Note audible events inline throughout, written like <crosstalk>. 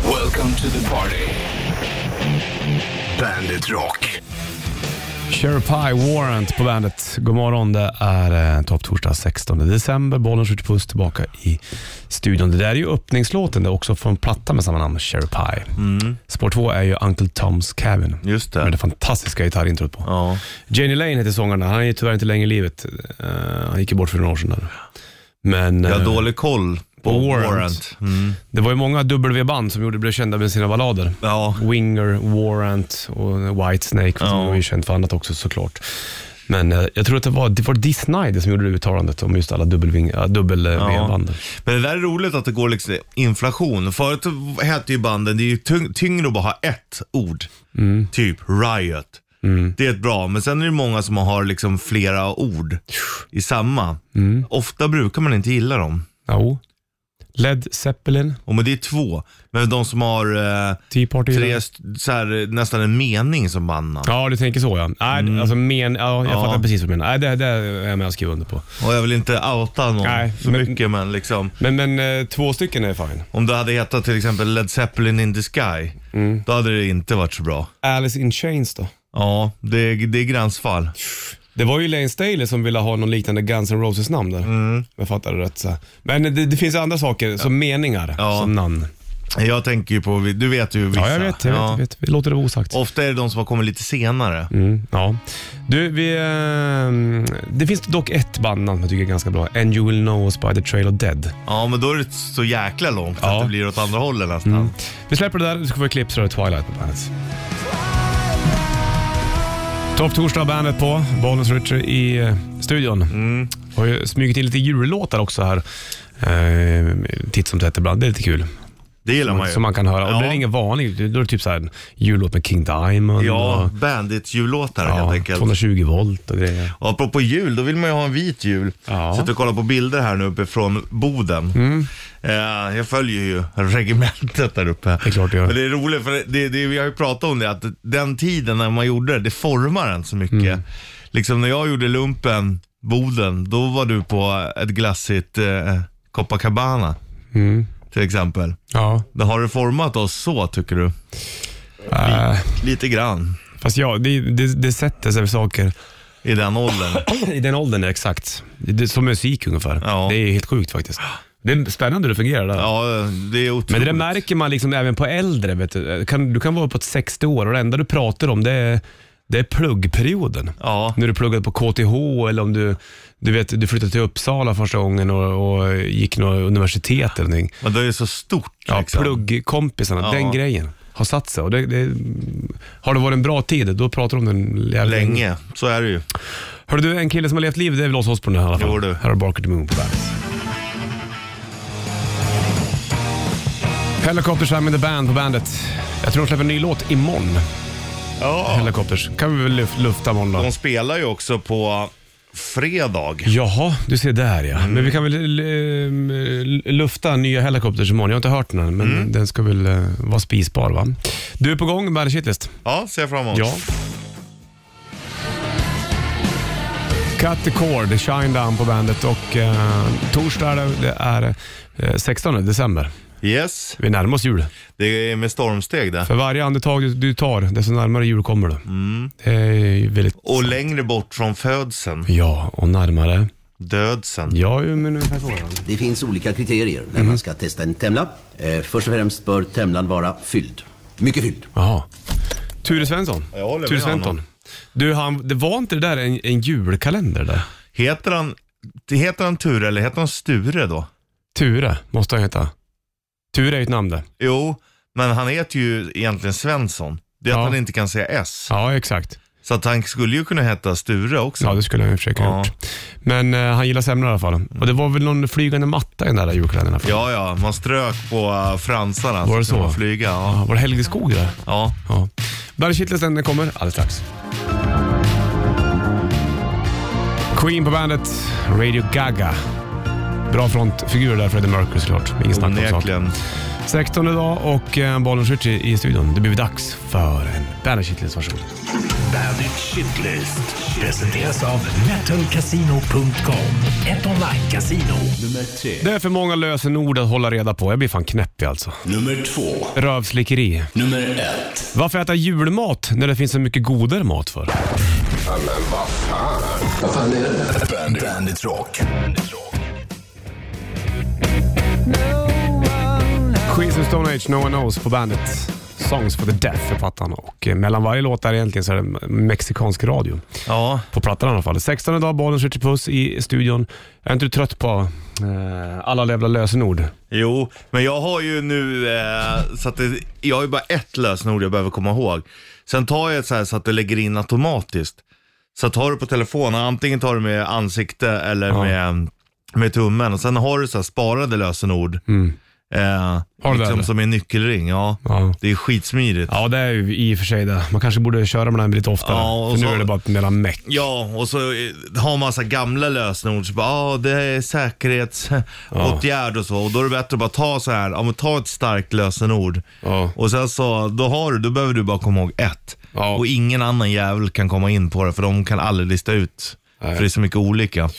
Welcome to the party. Bandit Rock. Cherry Pie Warrant på bandet. God morgon, det är eh, topp torsdag 16 december. Bollen skjuter puss tillbaka i studion. Det där är ju öppningslåten, det är också från platta med samma namn, Cherry Pie. Spår två är ju Uncle Tom's Cabin. Just Med det. det fantastiska gitarrintrot på. Ja. Janie Lane heter sångaren, han är ju tyvärr inte längre i livet. Eh, han gick ju bort för några år sedan. Där. Men Jag eh, har dålig koll på, På Warrant. Warrant. Mm. det var ju många W-band som gjorde blev kända med sina ballader. Ja. Winger, Warrant och Whitesnake. Ja. Ja. De är ju känt för annat också såklart. Men eh, jag tror att det var, det var Dee Snider som gjorde det uttalandet om just alla dubbel-V-band. Dubbel, eh, V-band. Men det där är roligt att det går liksom inflation. Förut hette ju banden, det är ju tyng- tyngre att bara ha ett ord. Mm, Typ riot. Det är ett bra, men sen är det många som har liksom flera ord i samma. Mm. Ofta brukar man inte gilla dem. Jo. Led Zeppelin, Och men det är två. Men de som har eh, Tea Party. tre, st- så här, nästan en mening som bandnamn. Ja, du tänker så ja. Nej, alltså, men, ja jag Mm. Ja. fattar precis vad du menar. Nej, det, det är jag med och skriver under på. Och jag vill inte outa någon Nej, för men- mycket, men liksom. Men, men eh, två stycken är fine. Om du hade hetat till exempel Led Zeppelin in the Sky, Mm. då hade det inte varit så bra. Alice in Chains då? Ja, det är, det är gränsfall. Det var ju Lane Staley som ville ha någon liknande Guns N' Roses namn där. Mm. Jag fattar det rätt. Så. här. Men det, det finns andra saker, som meningar, Ja. som namn. Jag tänker ju på, du vet ju vissa. Ja, jag vet. Jag vet, Ja. jag vet. Vi låter det vara osagt. Ofta är det de som har kommit lite senare. Mm, ja. Du, vi, ehm, det finns dock ett bandnamn som jag tycker är ganska bra. And you will know us by the trail of dead. Ja, men då är det så jäkla långt Ja. att det blir åt andra hållet nästan. Mm. Vi släpper det där. Du ska få ett klipp så är det Twilight på bandet. Topp torsdag bandet på. Bonus Richard i eh, studion. Mm. Har ju smugit in lite jullåtar också här. Eh, titt som tätt ibland. Det är lite kul. Det gillar man ju. Som man kan höra. Och Ja. det är ingen vanlig. Då är det typ så här en jullåt med King Diamond. Ja, och, Bandit-jullåtar helt ja enkelt. 220 volt och grejer. Och apropå jul, då vill man ju ha en vit jul. Ja. Mm. Sitter och kollar på bilder här nu uppifrån Boden. Eh, jag följer ju regementet där uppe. är klart du gör. Men det är roligt, för det, det, vi har ju pratat om det, att den tiden när man gjorde det, det formar en så mycket. Mm. Liksom när jag gjorde lumpen, Boden, då var du på ett glassigt eh, Copacabana Mm. till exempel. Ja. Det har det format oss så tycker du? Eh, Lite grann Fast ja, det, det, det sätter sig saker i <laughs> den åldern. i den åldern, exakt. Det, det, som musik ungefär. Ja. Det är helt sjukt faktiskt. Det är spännande hur det fungerar där. Ja, det är otroligt. Men det där märker man liksom även på äldre. Vet du. Kan, du kan vara uppåt 60 år och det enda du pratar om det är, det är pluggperioden. Ja. När du pluggade på KTH eller om du, du, vet, du flyttade till Uppsala första gången och, och gick något universitet eller någonting. Men det är ju så stort Ja, liksom. pluggkompisarna, Ja. den grejen har satt sig. Och det, det, har det varit en bra tid, då pratar du om den jävligt Länge, så är det ju. Hör du, en kille som har levt livet, det är väl oss på den här i alla fall. Jo, du. Här har Barker the Moon på bandet. Helicopters här med The Band på bandet. Jag tror de släpper en ny låt imorgon. Ja. Helicopters. kan vi väl luf- lufta imorgon då. De spelar ju också på fredag. Jaha, du ser där Mm. ja. Men vi kan väl l- ehm, l- lufta nya Helicopters imorgon. Jag har inte hört den än, men Mm. den ska väl eh, vara spisbar va? Du är på gång med Bandet Shitlist. Ja, ser jag fram emot. Ja. Cut the cord, Shine Down på bandet och eh, torsdag är det- det är eh, 16 december. Yes, Vi närmar oss jul. det är med stormsteg det. För varje andetag du, du tar, desto närmare jul kommer du. Det är ju väldigt... Mm. Och längre bort från födseln, Ja, och närmare. dödsen. Ja, ju, men ungefär så. ja. Det finns olika kriterier när man ska testa en Temla. Eh, först och främst bör Temlan vara fylld. Mycket fylld. Jaha. Ture Svensson. Jag håller med Ture Sventon. honom. Du, han, det var inte det där en, en julkalender där? Heter han, heter han Ture eller heter han Sture då? Ture måste han heta. Ture är ju ett namn det. Jo, men han heter ju egentligen Svensson. Det är Ja. att han inte kan säga S. Ja, exakt. Så att han skulle ju kunna heta Sture också. Ja, det skulle han ju försöka Liksom. Ja. Mm. gjort. Men eh, han gillar semlor i alla fall. Och det var väl någon flygande matta i den där julkalendern? i alla fall. Ja, ja, man strök på äh, fransarna. Var det så? kunde man Flyga, ja. Ja, Var det Helge Skog där? ja. Ja. Barry Kittlesen, den kommer alldeles strax. Queen på bandet, Radio Gaga. Bra frontfigur där, Freddie Mercury såklart. Ingen snack om saken. Onekligen. 16 idag och eh, Bollen Switch i i studion. Det blir dags för en Bandage Hitlist. Varsågod. Bandit Shitlist presenteras av metalcasino.com. Ett online-casino. Nummer tre. Det är för många lösenord att hålla reda på. Jag blir fan knäppig alltså. Nummer två. Rövslickeri. Nummer ett. Varför äta julmat när det finns så mycket godare mat för? Bandit, Bandit Rock. Queens of Stone Age, No One Knows på bandet. Songs for the Deaf för plattan och eh, mellan varje låt där egentligen så är det mexikansk radio. Ja. På plattan i alla fall. 16 idag, bollen skjuter puss i studion. Är inte du trött på eh, alla jävla lösenord? Jo, men jag har ju nu eh, så att det, jag har ju bara ett lösenord jag behöver komma ihåg. Sen tar jag ett så här så att det lägger in automatiskt. Så tar du på telefonen, antingen tar du med ansikte eller med, med tummen. Och sen har du så här sparade lösenord. Eh, Mm. Har du det, eller? liksom som en nyckelring, ja. Ja. Det är skitsmidigt. Ja, det är ju i och för sig det. Man kanske borde köra med den lite oftare. Ja, och för nu så- är det bara ett mera meck. Ja, och så eh, har man så här gamla lösenord. Så bara, ah, det är <laughs> säkerhetsåtgärd och så. Och då är det bättre att bara ta så här, ja, men ta ett starkt lösenord. Ja. Och sen så, då har du, då behöver du bara komma ihåg ett. Ja. Och ingen annan jävel kan komma in på det, för de kan aldrig lista ut. För det är så mycket olika.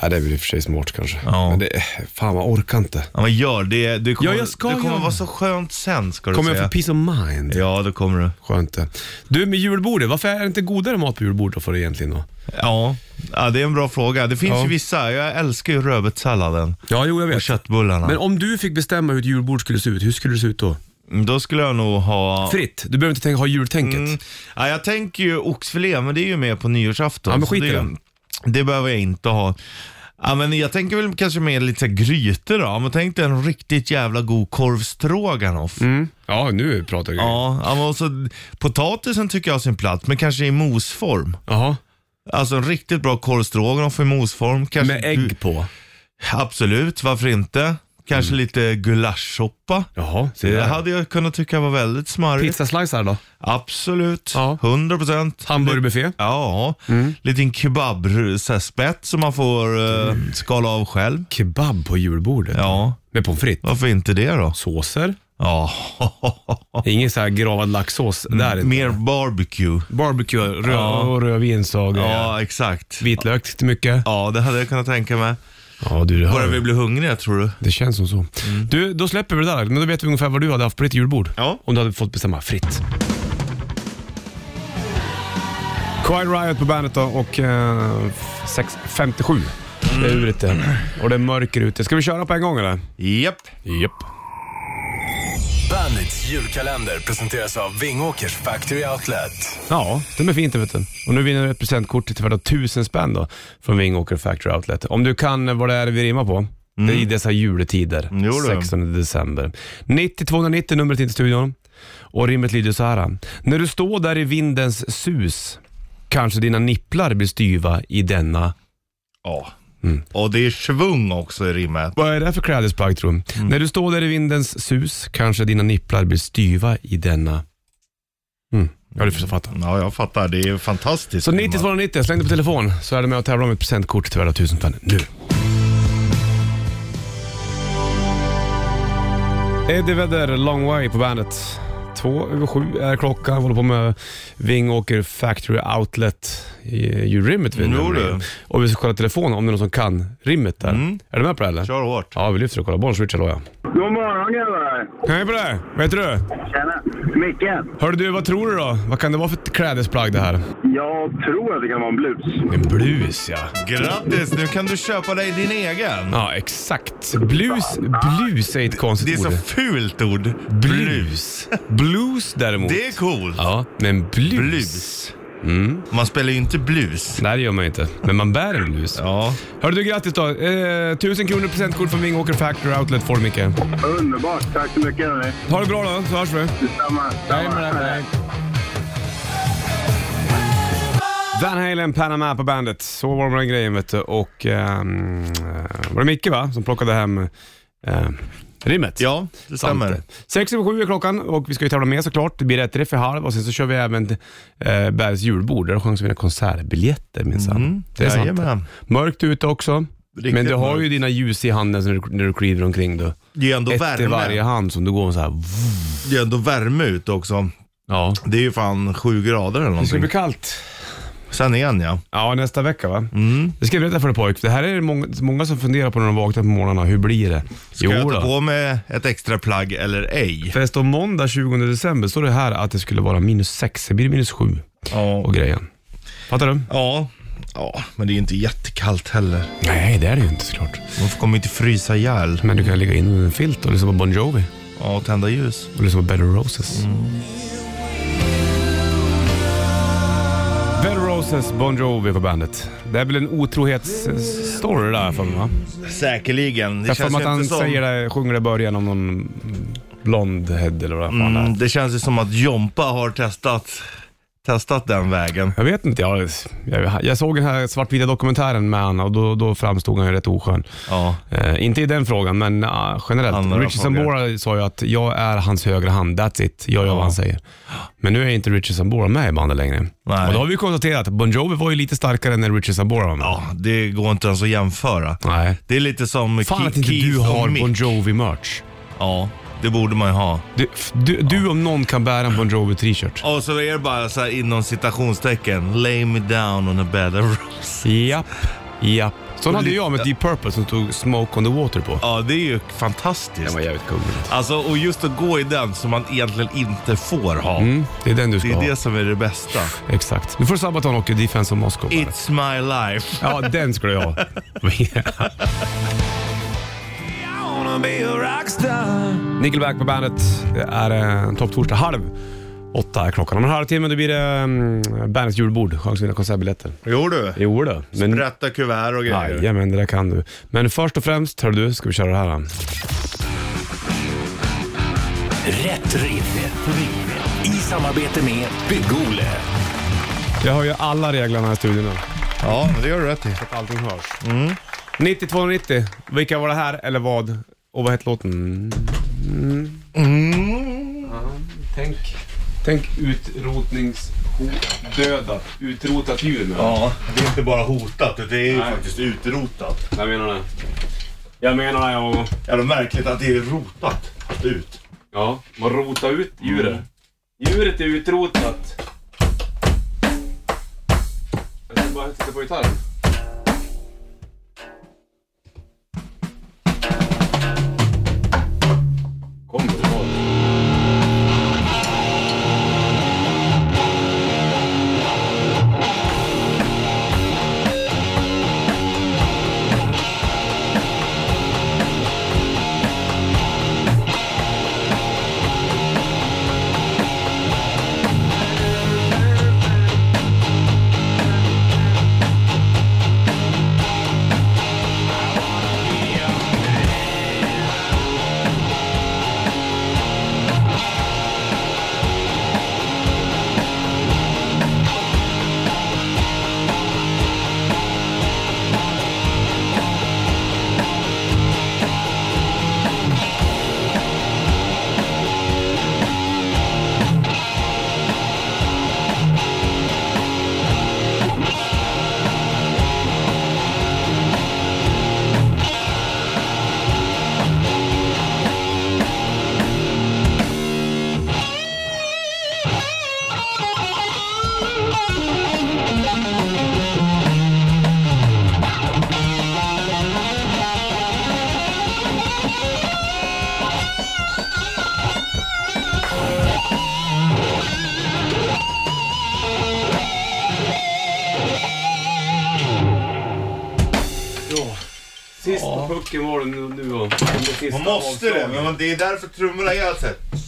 Ja, det är väl i och för sig smart kanske. Ja. Men det, fan, man orkar inte. Ja men gör det, det kommer, Ja, jag ska det kommer göra vara det. så skönt sen ska du Kommer jag säga. få peace of mind? Ja, det kommer du. Skönt det. Du, med julbordet, varför är det inte godare mat på julbordet då för dig egentligen då? Ja. ja, det är en bra fråga. Det finns Ja. ju vissa, jag älskar ju rödbetssalladen Ja, jo jag och köttbullarna. Men om du fick bestämma hur ett julbord skulle se ut, hur skulle det se ut då? Då skulle jag nog ha... Fritt, du behöver inte tänka, ha jultänket. Mm. Ja, jag tänker ju oxfilé, men det är ju med på nyårsafton. Ja, men så skit i det, det behöver jag inte ha. Ja, men jag tänker väl kanske mer lite så här grytor då. Men tänk dig en riktigt jävla god korv stroganoff. Mm. Ja, nu pratar du ja. Ja, ja, men också, potatisen tycker jag har sin plats, men kanske i mosform. Jaha, Alltså en riktigt bra korv stroganoff i mosform. Kanske med ägg på. Absolut, varför inte? Kanske Mm. lite gulaschsoppa. Jaha, se Det där. hade jag kunnat tycka var väldigt smarrigt. Pizzaslicer då? Absolut, Ja. 100%. Hamburgerbuffé? Mm. Ja, liten kebabspett som man får eh, Mm. skala av själv. Kebab på julbordet? Ja, Med pommes frites? varför inte det då? Såser? Ja, Ingen så här gravad laxsås där inte. mer barbecue. Barbecue, röd, och rödvins och grejer. Ja, exakt. Vitlök till mycket. Ja, det hade jag kunnat tänka mig. Ja, du, det, Börjar hör. vi bli hungriga tror du? det känns som så. Du, då släpper vi det där. Men då vet vi ungefär vad du hade haft på ditt julbord. Ja. Om du hade fått bestämma fritt. Quiet Riot på bandet då och eh, 6.57. Mm. Det är uret det. Och det är mörker ute. Ska vi köra på en gång eller? Japp. Japp. Bandits julkalender presenteras av Vingåkers Factory Outlet. Ja, det är fint det vet du. Och nu vinner du ett presentkort till värda tusen spänn då från Vingåker Factory Outlet. Om du kan eh, vad det är vi rimmar på. Det är i dessa juletider. Jo du. 16 december. 90290 numret in till studion. Och rimmet lyder så här. När du står där i vindens sus kanske dina nipplar blir styva i denna Ja. Mm. Och det är svung också i rimmet. Vad är det för klädesplagg tror du? När du står där i vindens sus kanske dina nipplar blir styva i denna... Mm. Ja, du fattar. Ja, jag fattar. Det är fantastiskt. Så 9290, släng dig på telefon så är du med och tävlar om ett presentkort till värda 1000 spänn nu. Eddie Vedder, Long Way på bandet. Två över sju är klockan. Håller på med Vingåker Factory Outlet i i rimmet. vi Jo, nämner. du. Mm. Och vi ska kolla telefonen om det är någon som kan rimmet där. Är du med på det eller? Kör hårt. Ja, vi lyfter och kollar. Bonneswitch, hallå ja. God morgon grabbar! Hej på dig! Vad heter du? Tjena! Micke! Hörde du, vad tror du då? Vad kan det vara för klädesplagg det här? Jag tror att det kan vara en blus. En blus ja. Grattis, nu kan du köpa dig din egen. Ja, exakt. Blus, blus är ett Det är konstigt så ord. fult ord. Blus. Blues däremot. Det är coolt. Ja, men blus. Blus. Mm. Man spelar ju inte blues. Nej, det gör man ju inte. Men man bär en blus. Ja. Hörde du, grattis då. Eh, 1000 kronor presentkort från Vingåker Factory Outlet får du Micke. Underbart! Tack så mycket hörni! Ha det bra då, så hörs vi. Detsamma! Van Halen, Panama på bandet. Så var det med den grejen vet du. Och ehm, eh, var det Micke va, som plockade hem eh, rimmet? Ja, det stämmer. Sex över sju är klockan och vi ska ju tävla med såklart. Det blir rätt riff i halv och sen så kör vi även eh, Bergs julbord. Där har du chans att vinna konsertbiljetter minsann. Det är sant. Mm, Jajamän. Mörkt ute också. riktigt Men du har ju mörkt. dina ljus i handen när du, när du kliver omkring. Du. Det är ändå Ett i värme. varje hand som du går så här. Det är ändå värme ute också. Ja. Det är ju fan sju Det grader eller ska någonting. bli kallt. Sen igen ja. Ja, nästa vecka va? Mm. Det ska jag berätta för dig pojk. Det här är det många, många som funderar på när de vaknar på morgnarna. Hur blir det? Ska jag ta då. på mig ett extra plagg eller ej? Förresten, om måndag 20 december står det här att det skulle vara minus 6. Det blir minus 7 Ja. och grejen. Fattar du? Ja. Ja, men det är ju inte jättekallt heller. Nej, det är det ju inte såklart. Man får- kommer ju inte frysa ihjäl. Men du kan ligga in under en filt och lyssna på Bon Jovi Ja, och tända ljus. och lyssna på Better Roses. Better Roses, Bon Jovi på bandet. Det är väl en otrohetsstory där för mig va? Säkerligen. Det Jag har för känns mig ju att han inte som... säger det, sjunger det i början om någon blondhead eller vad fan det är. Mm, det känns ju som att Jompa har testat, testat den vägen. Jag vet inte, jag, jag, jag såg den här svartvita dokumentären med han och då, då framstod han ju rätt oskön. Ja. Eh, inte i den frågan, men ah, generellt. Andra Richie Sambora sa ju att jag är hans högra hand, that's it. Jag gör vad han säger. Men nu är inte Richie Sambora med i bandet längre. Nej. Och då har vi konstaterat att Bon Jovi var ju lite starkare när Richie Sambora var med. Ja, det går inte ens att jämföra. Nej. Det är lite som Fan Ke- att inte du Keith och har Mick. Bon Jovi-merch. Ja, det borde man ju ha. Du, f- du, du om någon kan bära en Bon Jovi-t-shirt. Och så är det bara så här inom citationstecken. Lay me down on a bed of roses. Japp, japp. Sån hade jag med Deep Purple som tog Smoke on the Water på. Ja, det är ju fantastiskt. jävligt cool. Alltså, och just att gå i den som man egentligen inte får ha. Mm, det är den du ska Det är ha. det som är det bästa. Exakt. Nu får du Sabaton och Defense of Moscow. bara. It's my life. Ja, den ska du ha. Nickelback på bandet. Det är eh, topp torsdag halv åtta är klockan. Om en halvtimme då blir det mm, bandets julbord. Chans att vinna konsertbiljetter. Jo du. Jo då. Men, Rätta kuvert och grejer. jajamän, det där kan du. Men först och främst, hör du, ska vi köra det här. då? Rätt riff. Rätt riff. I samarbete med Bygg-Ole. Jag har ju alla reglerna i studion. nu. Ja, det gör du rätt i. Allting hörs. 90-290. Vilka var det här eller vad? Och vad hette låten? Mm. Ja, tänk, tänk utrotningsdödat, utrotat djur nu. Ja, det är inte bara hotat, utan det är ju Nej. faktiskt utrotat. Jag menar det. Jag menar det. Jag, Jävla märkligt att det är rotat ut. ja, man rotar ut djuret. Djuret är utrotat. Jag ska bara titta på gitarren. Kommer det vara? Sista pucken var det nu. nu och, Man måste det, men man- det är därför trummorna är alltså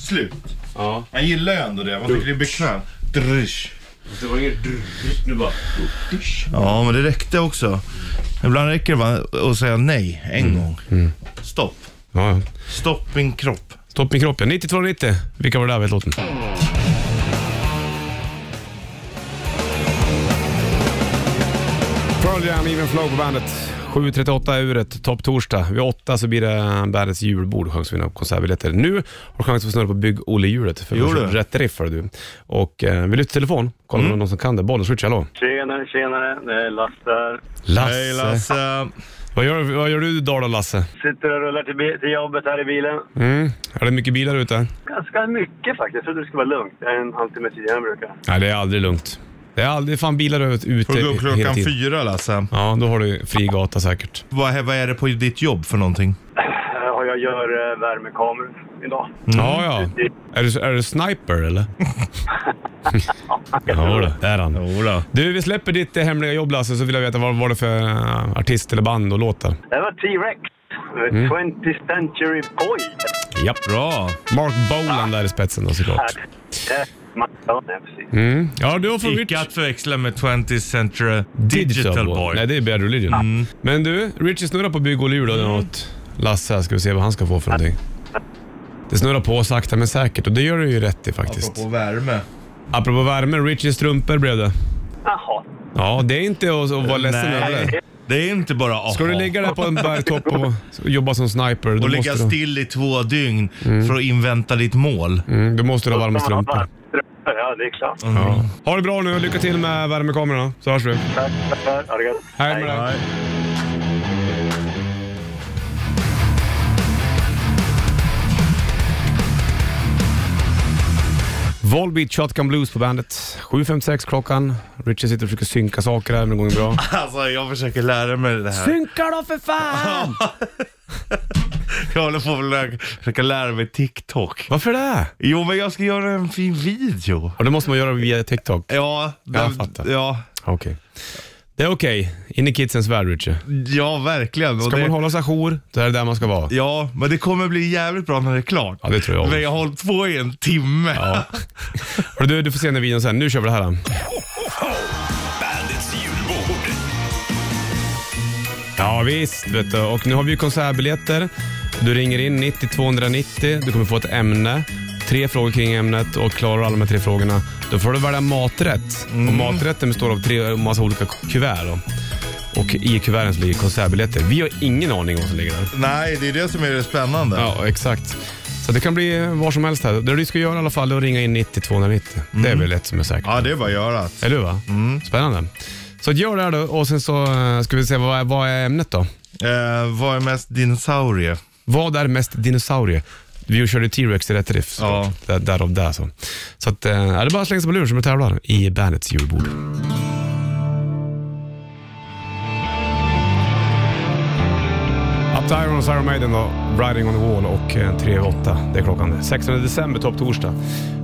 slut. Ja, Man gillar ju ändå det, man tycker det är bekvämt. Drish. det var inget nu bara. Ja, men det räckte också. Ibland räcker det bara att säga nej en Mm. gång. Stopp. Ja, ja. Stopp min kropp. Stopp min kropp ja. 9290. Vilka var det där vet låten? Pearl Jam, Even Flow på bandet. 7.38 är uret, topp torsdag. Vid 8 så blir det bandets julbord, chans att vinna konsertbiljetter. Nu har du chans att snurra på Bygg-Olle-hjulet. För vi har Jo, du. kört rätt riff hörru du. Och eh, vi lyfter telefon, kollar om det är någon som kan det. Bollen switch, hallå? Tjenare, tjenare. Det är Lasse här. Lasse. Hej Lasse. Jag Vad gör, vad gör du idag då, Lasse? Sitter och rullar till, bi- till jobbet här i bilen. Mm. Är det mycket bilar ute? Ganska mycket faktiskt. Jag trodde det skulle vara lugnt. Jag är en halvtimme tidigare än jag brukar. Nej, det är aldrig lugnt. Det är aldrig fan bilar ute Får du gå upp he- hela klockan tiden. fyra Lasse? Ja, då har du fri gata säkert. Vad, vad är det på ditt jobb för någonting? Här har jag gör eh, värmekameror idag. Mm. Ja, ja. Är du, är du sniper <laughs> eller? ja, då, det är han. Jodå. Du, vi släpper ditt eh, hemliga jobb Lasse, så vill jag veta vad var det för eh, artist eller band och låtar. Det var T-Rex. The Mm. 20th Century Boy. Japp. Bra. Mark Bolan där i spetsen då såklart. Eh, man- Ja, nej, precis. Mm. Ja, du har fått Rich... Icke att förväxla med 20th Century Digital, Digital Boy. Boy. Mm. Nej, det är Bad Religion. Men du, Richie snurrar på bygg och lur då, den åt Lasse här. Ska vi se vad han ska få för någonting. Det snurrar på sakta men säkert och det gör du ju rätt i faktiskt. Apropå, värme. värme, Richies strumpor blev det. Jaha. Ja, det är inte att, att vara ledsen över det. Nej, det är inte bara aha. Ska du ligga där på en bergtopp och jobba som sniper, då och måste, ligga du, still i två dygn för att invänta ditt mål. mm, då måste du ha varma strumpor. Mm. Ja, det är klart. Ja. Ha det bra nu, lycka till med värmekamerorna, så hörs vi. Tack, tack, tack. Ha det gött. Hej med dig. Volbeat Shotgun Blues på bandet. 7.56 klockan. Richard sitter och försöker synka saker här, men det går inte bra. Alltså jag försöker lära mig det här. Synka då för fan! Jag håller på att lä- försöka lära mig TikTok. Varför det? Jo men jag ska göra en fin video. Och det måste man göra via TikTok. Ja, Jag den- fattar. ja, Okej. Det är okej. In i kidsens värld, Richard. ja verkligen. Och Ska det, man hålla sig ajour, då är det där man ska vara. Ja, men det kommer bli jävligt bra när det är klart. Ja, det tror jag också. Men jag har hållit på i en timme. Ja. <laughs> Hörru Du, du får se den videon sen. Nu kör vi det här. då. Bandits julbord. Ja visst, vet du. och nu har vi ju konsertbiljetter. Du ringer in 90 290, du kommer få ett ämne, tre frågor kring ämnet och klarar du alla de här tre frågorna, då får du välja maträtt. Och maträtten består av tre massa olika kuvert. Då. Och i kuverten så ligger konsertbiljetter. Vi har ingen aning om vad som ligger där. <laughs> Nej, det är det som är det spännande. Ja, exakt. Så det kan bli vad som helst här. Det du ska göra i alla fall är att ringa in 90 290. Det är väl ett som är säkert. Ja, det är bara att göra. Eller hur? Va? Spännande. Så gör det här då och sen så eh, ska vi se vad är, vad är ämnet då? Eh, vad är mest dinosaurie? Vad är mest dinosaurie? Vi körde T-Rex i rätt riff såklart. Där- Därav det. Så, så att, eh, är det är bara att slänga sig på luren som du tävlar i Bandits julbord. Up to Iron och Iron Maiden då, Riding on the Wall och eh, 3 över 8. Det är klockan det. 16 december, topp torsdag.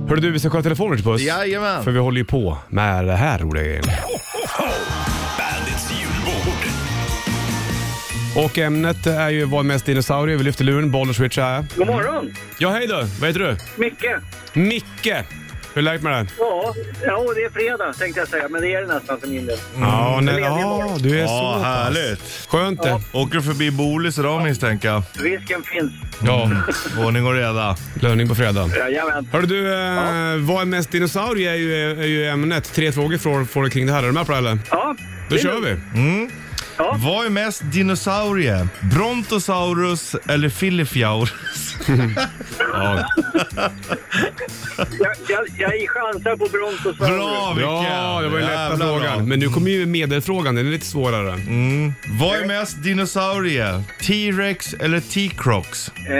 Hörru du, vi ska kolla telefonen till puss. Jajamän. För vi håller ju på med det här roliga grejen. Bandits julbord. Och ämnet är ju vad är mest dinosaurier. Vi lyfter luren, Bollers Switch är. God morgon! Ja, hej då. Vad heter du? Micke! Micke! Hur är läget med dig? Ja, ja, det är fredag tänkte jag säga, men det är det nästan för min del. Ja, nej, Ledig ja, imorgon. du är så Ja, pass. härligt. Skönt det. Åker du förbi Bolis idag misstänker jag? Risken finns. Ja, Ordning och reda. löning på fredag. Jajamän. Hörru du, eh, vad är mest dinosaurier är ju, är ju ämnet. Tre frågor får, får du kring det här. Är du med på det eller? Ja, Då kör vi. Vad är mest dinosaurie? Brontosaurus eller Filifjaurus? Ja. jag, jag, jag chansar på brontosaurus. Bra Micke! ja, det var ju lätta Jävla frågan. bra. Men nu kommer ju medelfrågan. Den är lite svårare. Vad är mest dinosaurie? T-Rex eller T-Crox? Eh,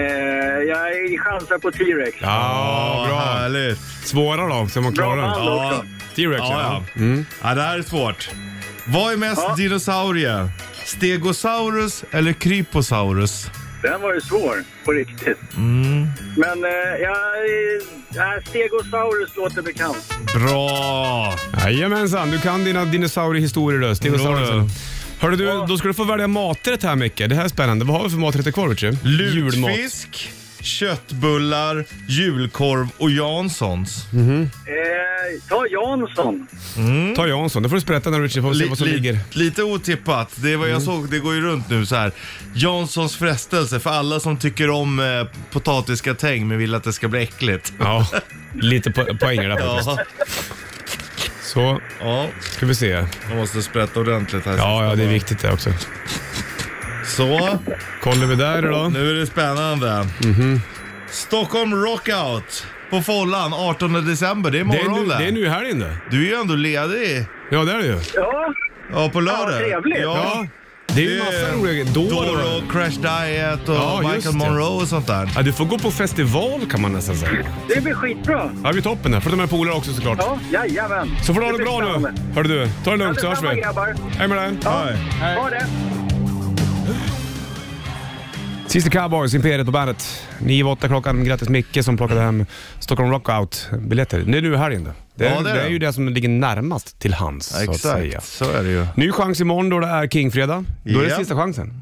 jag chansar på T-Rex. Ja, bra. Härligt. Svåra då, så man Bra klarar man den. också. T-Rex ja. Mm. Ja, ja. ja, det här är svårt. Vad är mest dinosaurie? Stegosaurus eller Kryposaurus? Den var ju svår, på riktigt. Mm. Men eh, jag... eh, Stegosaurus låter bekant. Bra! Jajamensan, du kan dina dinosauriehistorier du. Dinosaurien. Bra. Hörru du, då ska du få välja maträtt här Micke. Det här är spännande. Vad har vi för maträtter kvar Richie? Julmat. Lutfisk, köttbullar, julkorv och Janssons. Eh, ta Jansson. Ta Jansson, då får du sprätta när Richie får se Li- vad som li- ligger. Mm. Lite otippat. Det är vad jag såg. Det går ju runt nu så här. Janssons frestelse för alla som tycker om eh, potatisgratäng men vill att det ska bli äckligt. Ja, lite po- poänger där faktiskt. Ja, Så, ja. ska vi se. Ja, Jag måste sprätta ordentligt här. ja det är viktigt det också. Så. Kollar vi där då. Nu är det spännande. Mhm. Stockholm Rockout på Follan 18 december. Det är Det är imorgon nu, det. det är nu i helgen det. Du är ju ändå ledig. Ja, det är det ju. Ja, Ja, på lördag. Ja, trevligt. Ja. Det är ju massa roliga grejer. Doro. Doro, Crash Diet och Ja, just Michael det. Monroe och sånt där. Ja, du får gå på festival kan man nästan säga. Det blir skitbra. Ja, vi är toppen där. Får ta med polare också såklart. Ja, jajamän. Så får du ha det blir bra nu. spännande. Hörru du, ta det lugnt så hörs Detsamma, vi. grabbar. Hej med dig. Ja, ha det. Sista Cowboys, Imperiet på bandet. 9-8 klockan. Grattis Micke som plockade hem Stockholm Rockout-biljetter. Det är nu i helgen då. Det är, Ja, det, det är är det. ju det som ligger närmast till hands så att säga. Exakt, så är det ju. Ny chans imorgon då det är Kingfredag. Då är det Ja. sista chansen.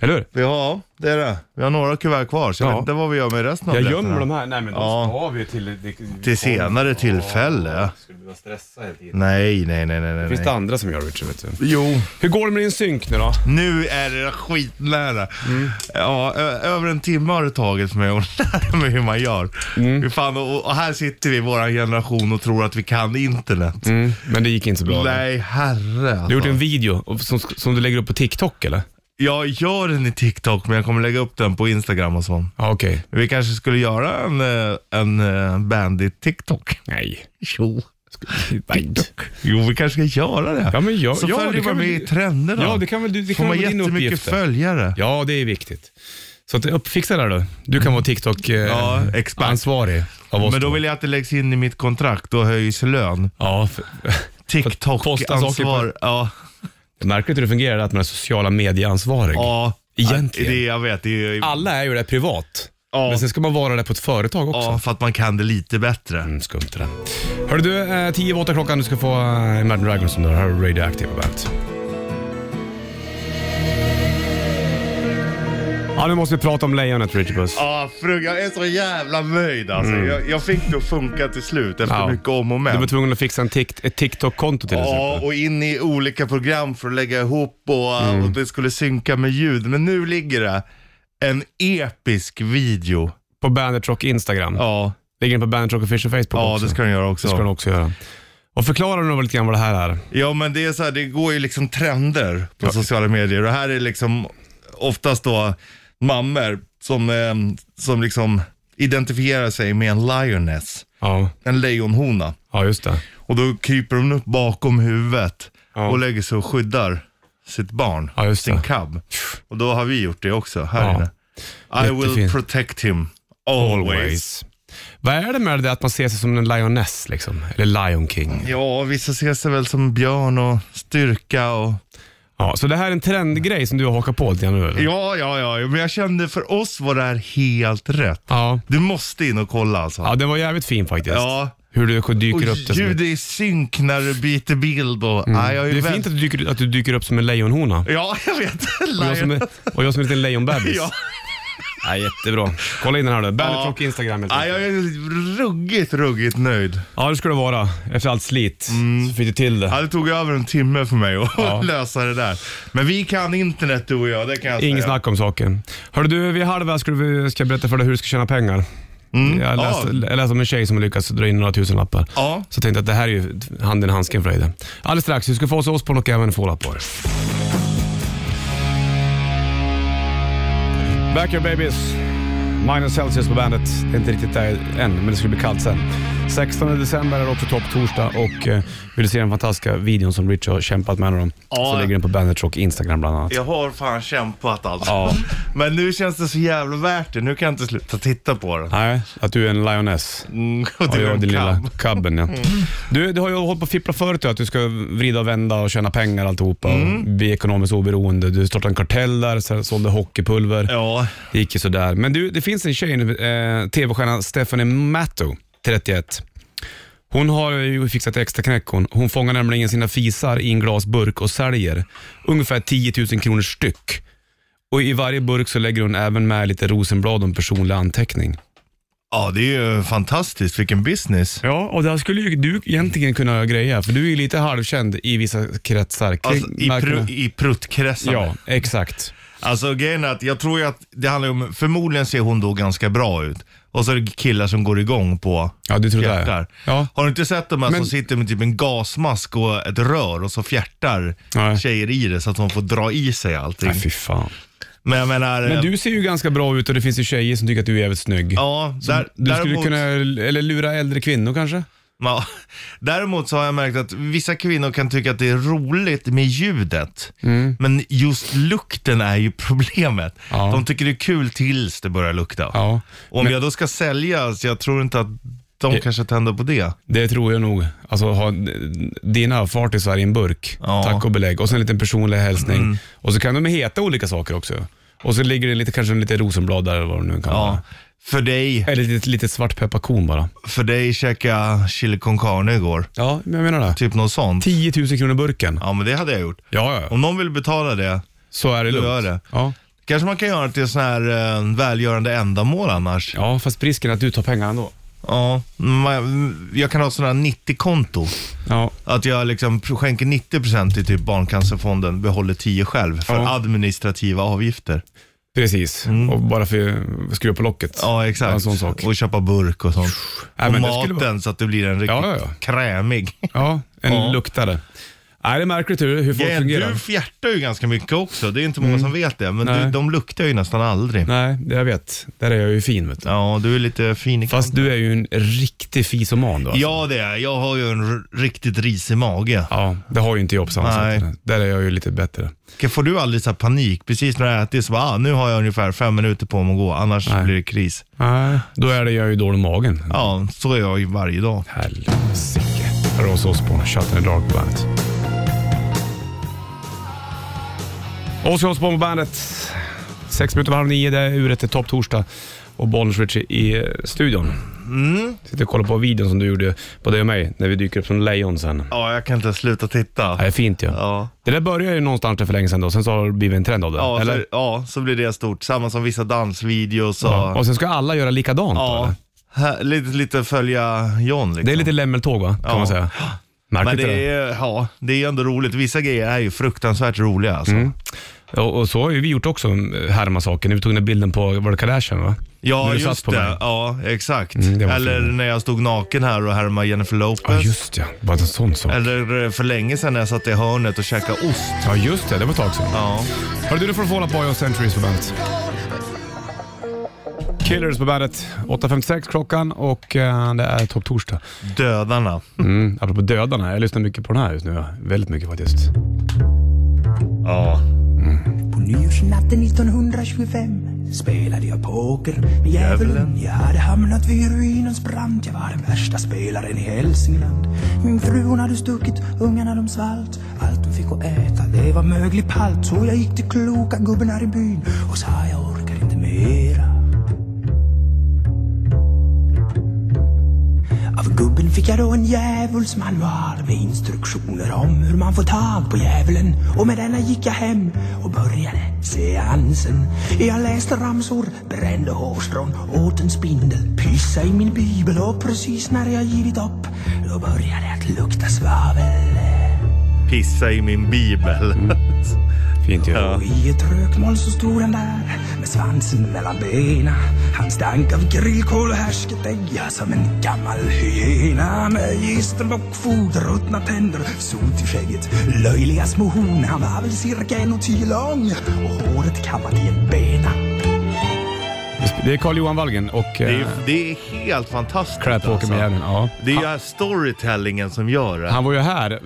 Eller hur? Ja, det är det. Vi har några kuvert kvar, så jag Ja. vet inte vad vi gör med resten av Jag biljetterna. gömmer de här. Nej men de Ja. ska vi till... Det, Till senare tillfälle. Skulle behöva stressa hela tiden. Nej, nej, nej, nej. nej. Finns det andra som gör Richard vet du. Jo, Hur går det med din synk nu då? nu är det skitnära. Mm. Ja, ö- över en timme har det tagit för mig att <laughs> lära mig hur man gör. Mm. Hur fan, och, och här sitter vi, vår generation, och tror att vi kan internet. Men det gick inte så bra. eller? Nej, herre alltså. Mm. Du har gjort en video och- som, som du lägger upp på TikTok eller? Jag gör den i TikTok, men jag kommer lägga upp den på Instagram och sånt. Ja okej. Vi kanske skulle göra en, eh, en eh, Bandit-TikTok. Nej. Jo. Jo, vi kanske ska göra det. Ja, men jag- så ja, det följer kan man med väl- i trenderna. Ja, det kan väl du- det Får kan man väl vara din jättemycket uppgift där. följare. Ja, det är viktigt. Så att uppfixa det här då. Du kan vara Ja, expert. TikTok-ansvarig av oss Men då två. vill jag att det läggs in i mitt kontrakt, då höjs lön. Ja, för, <laughs> posta saker på- TikTok-ansvar. Ja, märker du hur det fungerar att man är sociala medieansvarig? ja. Egentligen. Det, jag vet, det är ju... Alla är ju det privat. Ja. Men sen ska man vara det på ett företag också. Ja, för att man kan det lite bättre. Mm, skumt det där. Hörru du, eh, tio över åtta klockan. Du ska få eh, Imagine Dragons som du hör. Här är Radioactive på bandet. Ja, nu måste vi prata om lejonet, Richard Puss. Ja, fru, jag är så jävla nöjd alltså. Jag, jag fick det att funka till slut efter Mm. Ja. mycket om och men. Du var tvungen att fixa en tikt, ett TikTok-konto till Ja, exempel. och in i olika program för att lägga ihop och, Mm. och det skulle synka med ljud. Men nu ligger det en episk video. På Bandit Rock Instagram. Ja, Ligger den på Bandit Rock Official Facebook ja också? det ska den göra Det också. ska den också göra. Och förklara nu lite grann vad det här är. Ja, men det är så här, det går ju liksom trender på sociala medier. Och här är liksom oftast då mammor som, eh, som liksom identifierar sig med en lioness, Ja, en lejonhona. ja just det. Och då kryper hon upp bakom huvudet Ja. och lägger sig och skyddar sitt barn, Ja, just sin det. cub. Och då har vi gjort det också här Ja. inne. I will Jättefint. protect him always. Vad är det med det att man ser sig som en lioness liksom? Eller Lion King? Ja, vissa ser sig väl som björn och styrka och... Ja, så det här är en trendgrej som du har hakat på lite grann nu eller? Ja, ja, ja, men jag kände för oss var det här helt rätt. Ja. Du måste in och kolla alltså. Ja, den var jävligt fin faktiskt. Ja. Hur du och dyker upp det som ljud ett- är i synk när du byter bild och... Ja, jag är Mm. Det är väl- fint att du dyker, att du dyker upp som en lejonhona. Ja, jag vet. <laughs> Och jag som är, och jag som är en liten lejonbebis. Ja. Ja, jättebra. Kolla in den här då. Bandit Rock Instagram helt ja, jag är ruggigt, ruggigt nöjd. Ja, det ska det vara. Efter allt slit så fick du till det. Ja, det tog över en timme för mig att Ja. <laughs> lösa det där. Men vi kan internet du och jag, det kan jag Inget säga. snack om saken. Hörru du, vid halv här skulle vi, ska jag berätta för dig hur du ska tjäna pengar. Mm. Jag, läste, jag läste om en tjej som har lyckats dra in några tusenlappar. Ja. Så tänkte jag att det här är ju handen i handsken för dig. det. Alldeles strax, du ska få oss Osbourne och även få på det. Backyard Babies, Minus Celsius på bandet. Det är inte riktigt där än, men det ska bli kallt sen. 16 december är det också topptorsdag och eh, vill du se den fantastiska videon som Rich har kämpat med honom Ja. så ligger den på Bandit Rock Instagram bland annat. Jag har fan kämpat alltså. Ja. <laughs> Men nu känns det så jävla värt det. Nu kan jag inte sluta titta på det. Nej, att du är en lioness. Mm, <laughs> och Ja, du är jag och en Mm. din lilla kam. cabben ja. Du, du har ju hållit på och fipplat förut ju, att du ska vrida och vända och tjäna pengar och alltihopa Mm. och bli ekonomiskt oberoende. Du startade en kartell där, sen sålde hockeypulver. Ja, Det gick ju sådär. Men du, det finns en tjej nu, eh, tv-stjärnan Stephanie Matto, 31. Hon har ju fixat extra knäck hon. Hon fångar nämligen sina fisar i en glasburk och säljer ungefär 10 000 kronor styck. Och i varje burk så lägger hon även med lite rosenblad och en personlig anteckning. ja det är ju fantastiskt. Vilken business. Ja, och där skulle ju du egentligen kunna greja, för du är ju lite halvkänd i vissa kretsar. Kring- Alltså, i, märkena- pru, I pruttkretsar. Ja, exakt. Alltså grejen är att jag tror ju att det handlar ju om, förmodligen ser hon då ganska bra ut. Och så är det killar som går igång på Ja, du tror det. fjärtar. Ja. Har du inte sett de här Men- som sitter med typ en gasmask och ett rör och så fjärtar Nej. tjejer i det så att de får dra i sig allting. Nej, fy fan. Men jag menar... eh, Men du ser ju ganska bra ut och det finns ju tjejer som tycker att du är jävligt snygg. ja, där, Du skulle däremot, kunna, eller lura äldre kvinnor kanske? Ja. Däremot så har jag märkt att vissa kvinnor kan tycka att det är roligt med ljudet. Men just lukten är ju problemet. Mm. Ja. De tycker det är kul tills det börjar lukta. Ja. Eh. Och om jag då ska sälja, så jag tror inte att de kanske tänder på det. Det tror jag nog. Alltså, ha dina fartisar i en burk, Ja. Mm. tack och belägg. Och sen en liten personlig hälsning. Och så kan de heta olika saker också. Och så ligger det lite, kanske en lite rosenblad där eller vad det nu kan vara. Ja. För dig, Eller lite, lite svartpepparkorn bara. för dig käka chili con carne igår. Ja, men jag menar det. Typ något sånt. 10 000 kronor burken. Ja, men det hade jag gjort. Ja, ja. Om någon vill betala det, Så är det Då lugnt. gör det. Ja. kanske man kan göra det till sån här eh, välgörande ändamål annars. ja, fast risken är att du tar pengarna ändå. Ja, man, jag kan ha sådana här 90-konto. Ja. Att jag liksom skänker 90% till typ Barncancerfonden, behåller 10 själv för Ja. administrativa avgifter. Precis, och bara för att skruva på locket. Ja, exakt. En sån sak. Och köpa burk och sånt. Nej, och men det skulle maten så att det blir en riktigt Ja, ja, ja. krämig. Ja, en Ja. luktare. Nej, det är märkligt hur, hur folk Ja, fungerar. Mm. du fjärtar ju ganska mycket också, det är inte många som vet det. Men Nej. du, de luktar ju nästan aldrig. Nej, det jag vet. Där är jag ju fin vet du. Ja, du är lite fin i Fast du är ju en riktig fisoman då. alltså. Ja, det är jag. Jag har ju en r- riktigt risig mage. Ja, det har ju inte jag på samma Nej. sätt. Där är jag ju lite bättre. Får du aldrig så här panik precis när du har ätit? Så bara, ah, nu har jag ungefär fem minuter på mig att gå, annars blir det kris. Nej, då är det jag ju dålig i magen. Ja, så är jag ju varje dag. Helsike. Ross Osborn, Shut in the Dark på bandet. Ozzy Osbourne på bandet. Sex minuter över halv nio, det är uret till topp torsdag. Och Bollnäs Ritchie i eh, studion. Mm. Sitter och kollar på videon som du gjorde på dig och mig, när vi dyker upp som lejon sen. Ja, jag kan inte sluta titta. Ja, det är fint ju. Ja. Det där började ju någonstans där för länge sedan då, sen så har det blivit en trend av det. Ja, eller? så, ja, så blir det stort. Samma som vissa dansvideos och... Ja. Ja. Och sen ska alla göra likadant då, eller? Här, lite, lite följa John liksom. Det är lite lämmeltåg va, kan Ja. man säga. Märkligt Men det det är, ja, det är ändå roligt. Vissa grejer är ju fruktansvärt roliga alltså. Mm. Och, och så har ju vi gjort också, eh, härma saker. När vi tog den där bilden på, var det Kardashian va? Ja, När du just satt på mig. det. Ja, exakt. Mm, det var Eller fint. när jag stod naken här och härmade Jennifer Lopez. Ja, just ja. Bara en sån sak. Eller eh, för länge sedan när jag satt i hörnet och käkade ost. Ja, just det. Det var ett tag sedan. Ja. Hörru du, nu får du Fall Out Boy och Centuries på bandet. Killers på bandet. 8.56 klockan och eh, det är topp torsdag. Dödarna. Mm. Apropå dödarna, jag lyssnar mycket på den här just nu. ja. Väldigt mycket faktiskt. Ja. På nyårsnatten 1925 spelade jag poker med djävulen. Jag hade hamnat vid ruinens brant. Jag var den värsta spelaren i Hälsingland. Min fru hon hade stuckit, ungarna de svalt. Allt de fick att äta, det var möglig palt. Så jag gick till kloka gubben här i byn och sa jag orkar inte mera. Av gubben fick jag då en djävulsmanual med instruktioner om hur man får tag på djävulen. Och med denna gick jag hem och började seansen. Jag läste ramsor, brände hårstrån, åt en spindel, pyssade i min bibel och precis när jag givit upp, då började det att lukta svavel. Pissa i min bibel. Mm. Fint ju. Ja. Och i ett rökmoln så stod han där med svansen mellan benen. Han stank av grillkål och härsket ägg, ja, som en gammal hyena. Med gisterlock, fodruttna tänder, sot i skägget, löjliga små horn. Han var väl cirka en och tio lång och håret kammat i en bena. Det är Carl-Johan Wallgren och <laughs> Det är, eh, ju- det är helt fantastiskt. alltså. Crapwalker med djävulen. Ja. Det är ju storytellingen som gör det. Han var ju här, eh,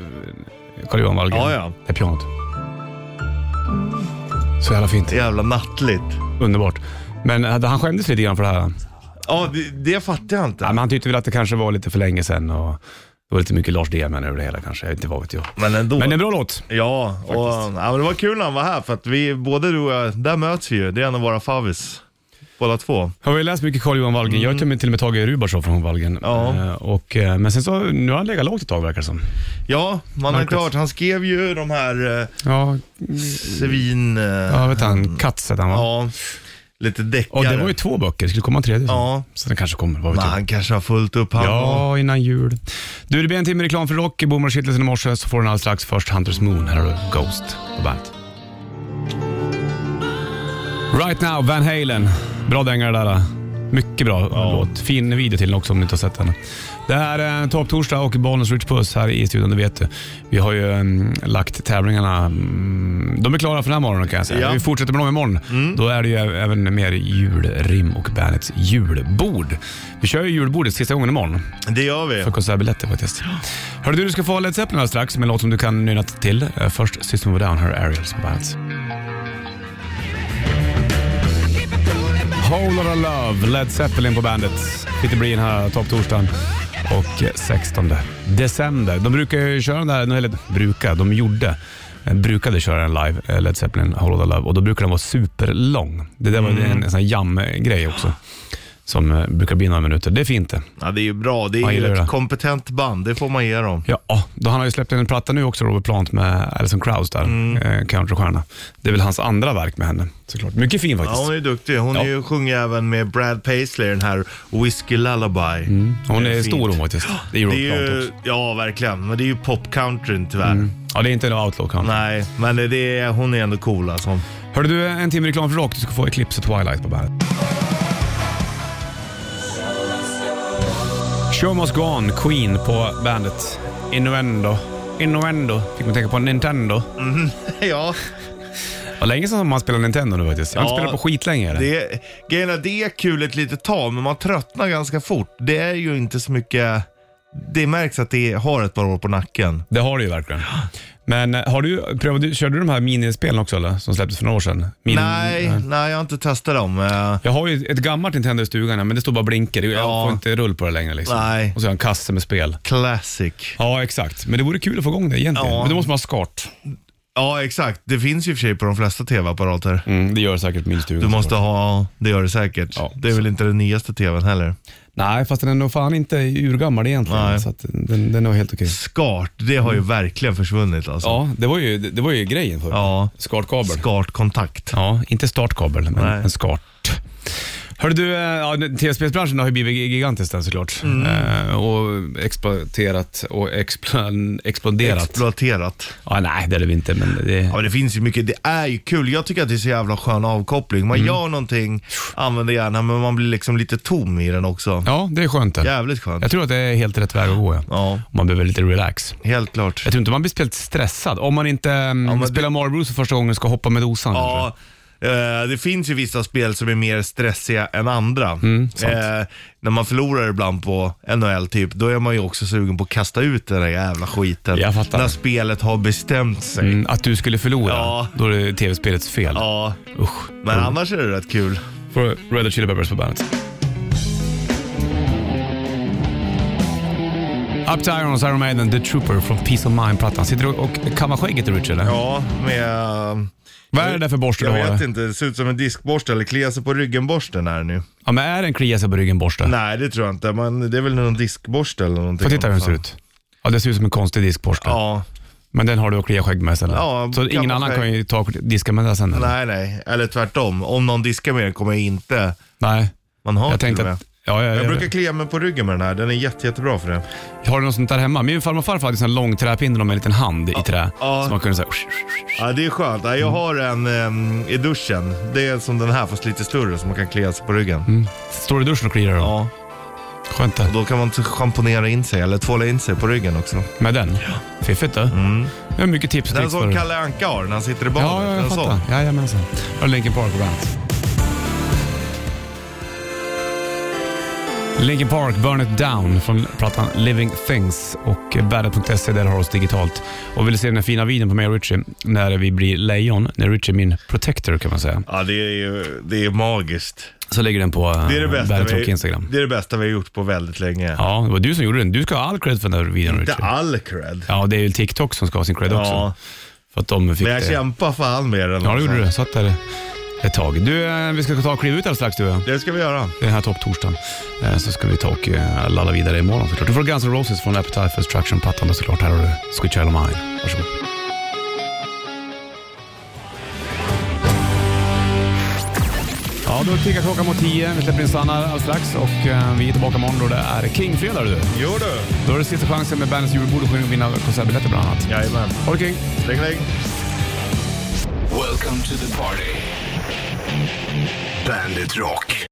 Carl-Johan Wallgren. Ja, ja. Det är pianot. Så jävla fint. Jävla nattligt. Underbart. Men eh, han skämdes lite grann för det här. Ja, det, det fattar jag inte. Ja, men han tyckte väl att det kanske var lite för länge sedan och det var lite mycket Lars Dehman över det hela kanske. Jag vet inte vad vet jag. Men ändå. Men det är en bra låt. Ja, och, ja, men det var kul när han var här för att vi, både du och jag, där möts vi ju. Det är en av våra favvis. Båda två. Jag har ju läst mycket Carl-Johan Wallgren. Jag har till och med, till och med tagit Rubars från Wallgren. Mm. Ja. Eh, Och, eh, men sen så, nu har han legat lågt ett tag verkar det som. Ja, man har inte Marcus. hört. Han skrev ju de här eh, Ja, svin... Eh, ja vet han. Katz hette han va? ja, lite deckare. Och det var ju två böcker. Det skulle komma en tredje. sen. Ja. Så den kanske kommer, vad vet Men jag. han kanske har fullt upp han och- Ja, innan jul. Du, det blir en timme reklam för rock. Bommar och kittelsen i morse så får den alldeles strax. Först Hunters Moon. Här har du Ghost på bandet. Right now, Van Halen. Bra dängare där. äh. Mycket bra låt. Fin video till den också om ni inte har sett den. Det här är Topp Torsdag och Bollnäs Rich Puss här i studion, det vet du. Vi har ju mm, lagt tävlingarna, mm, de är klara för den här morgonen kan jag säga. Ja. Vi fortsätter med dem imorgon. Då är det ju ä- även mer julrim och bandets julbord. Vi kör ju julbordet sista gången imorgon Det gör vi. för konsertbiljetter faktiskt. Hörru du, du ska få Led Zeppelin alldeles strax med en låt som du kan nynna till. Eh, Först System of a Down, här är Aerials på bandet. Whole Lotta Love, Led Zeppelin på bandet. Peter Breen här, topptorsdagen. Och eh, 16 december. De brukar ju köra den där, eller brukar, de gjorde, eh, brukade köra den live, eh, Led Zeppelin, Whole Lotta Love. Och då brukar den vara superlång. Det där var ju en, en sån här jam-grej också. Som eh, brukar bli några minuter. Det är fint det. Ja, det är ju bra. Det är Man ju gillar ett det. kompetent band, det får man ge dem. Ja, ah, då han har ju släppt en platta nu också, Robert Plant med Alison Krauss där, Mm. eh, countrystjärna. Det är väl hans andra verk med henne såklart. Mycket fin faktiskt. Ja, hon är duktig. Hon Ja. är ju sjunger även med Brad Paisley, den här Whiskey Lullaby. hon Det är är stor fint. hon faktiskt. Mm. Det är Det är Robert Plant ju, också. Mm. ja, verkligen. Men det är ju popcountryn tyvärr. Ja, det är inte en outlaw country. Nej, men det är, hon är ändå <laughs> cool alltså. Hörde du, en timme reklam för rock. Du ska få Eclipse och Twilight på bandet. Show Must Go On, Queen på bandet. Innuendo. Innuendo fick man tänka på Nintendo. Det ja, var länge sedan man spelade Nintendo nu faktiskt. Jag har inte Ja, spelat på skitlänge. Det... det, grejen är, det är kul ett litet tag, men man tröttnar ganska fort. Det är ju inte så mycket... Det märks att det har ett par år på nacken. det har du ju verkligen. Men eh, har du prövat, du- körde du de här minispelen också eller? Som släpptes för några år sedan? Min- Nej, nej, jag har inte testat dem. Eh, Jag har ju ett gammalt Nintendo i stugan här, men det står bara blinker. Jag Ja. får inte rull på det längre liksom. Nej. Och så har jag en kasse med spel. Classic. Ja, exakt. Men det vore kul att få igång det egentligen. Ja. Men då måste man ha skart. Ja, exakt. Det finns ju i och för sig på de flesta tv-apparater. Mm, det gör säkert min stuga. Du måste ha, det gör det säkert. Ja. det är väl inte den nyaste tvn heller. Nej, fast den är nog fan inte urgammal egentligen. Nej. Så att den, den är nog helt okej. Skart, det har ju verkligen försvunnit alltså. Mm. Ja, det var ju, det var ju grejen förr. Ja. Skartkabel. Skartkontakt. Ja, inte startkabel, men Nej. en skart. Hörru du, eh, ja, tv-spelsbranschen har ju blivit gigantisk den såklart. Mm. Eh, och exploaterat och explo- exploderat. Exploaterat. ja, nej, det är det väl inte, men det... Ja, men det finns ju mycket. Det är ju kul. Jag tycker att det är så jävla skön avkoppling. Mm. Man gör någonting, använder hjärnan, men man blir liksom lite tom i den också. Ja, det är skönt det. Jävligt skönt. Jag tror att det är helt rätt väg att gå. Ja. Ja. Man behöver lite relax. Helt klart. Jag tror inte man blir speciellt stressad om man inte mm, men det- spelar Mario Bros för första gången och ska hoppa med dosan. kanske. Ja, eh, det finns ju vissa spel som är mer stressiga än andra. Mm, Eh, när man förlorar ibland på NHL typ, då är man ju också sugen på att kasta ut den där jävla skiten. Jag fattar. När spelet har bestämt sig. Mm, att du skulle förlora, Ja. då är det tv-spelets fel. Ja, Usch. men annars är det rätt kul. Får Red Hot Chili Peppers på bandet. Up to Irons, Iron Maiden, The Trooper från Peace of Mind-plattan. Sitter du och kammar skägget du, Richard? eller? Ja, med... eh, Vad är det där för borste Jag du har? vet inte, det ser ut som en diskborste eller kliar sig på ryggen-borsten här nu. Ja, men är det en klia sig på ryggen borste? Nej, det tror jag inte. Men det är väl någon diskborste eller någonting. Får titta hur den ser ut. Ja, det ser ut som en konstig diskborste. Ja, Men den har du att klia skägg med sen? eller? Ja, Så ingen kammar annan skägg. kan ju ta och diska med den sen? eller? nej nej. Eller tvärtom. Om någon diskar med den kommer jag inte... Nej. Man Jag har till och tänkte med. att... Ja, jag, Jag jag, brukar klia mig på ryggen med den här. Den är jätte, jättebra för det. Har du något sånt där hemma? Min farmor och farfar hade en sån här lång träpinne med en liten hand i trä. ja. Så man kunde säga... Ja, det är skönt. Ja, Jag har en em, i duschen. Det är som den här fast lite större som man kan klia sig på ryggen. Står du i duschen och kliar dig då? Ja, Skönt det. då kan man t- schamponera in sig eller tvåla in sig på ryggen också. Med den? Fiffigt du. Det är mycket tips och Mm. Den tricks för som dig. Kalle Anka har när han sitter i badet. Ja, ja, En jag sån. fattar. Jajamensan. Och Linkin Park på bandet. Linkin Park, Burn It Down från plattan Living Things och bandet.se där har oss digitalt. Och vill du se den här fina videon på mig och Richie när vi blir lejon, när Richie är min protector kan man säga, Ja, det är ju det är magiskt. så lägger den på eh, Det är det, bästa Bandet Rock vi, Instagram. det är det bästa vi har gjort på väldigt länge. Ja, det var du som gjorde den. Du ska ha all cred för den här videon Inte Richie. all cred. Ja, det är ju TikTok som ska ha sin cred också. Ja, För att de fick men jag det. kämpar fan med den. Ja, det alltså. gjorde du. Satt där ett tag. Du, eh, vi ska ta och kliva ut alldeles strax du och jag. Det ska vi göra. Den här topptorsdagen. Eh, Så ska vi ta och eh, lalla vidare imorgon såklart. Du får Guns N' Roses från Appetite for Destruction-plattan då såklart. Här har du Sweet Child of Mine. Varsågod. Ja, då tickar klockan mot tio. Vi släpper in Sanna alldeles strax och eh, vi är tillbaka imorgon då det är King-fredag du. Jo du. Då är det sista chansen med Bandets julbord att vinna konsertbiljetter bland annat. Jajamän. Ha det king! Lägg, lägg. Welcome to the party. Bandit Rock.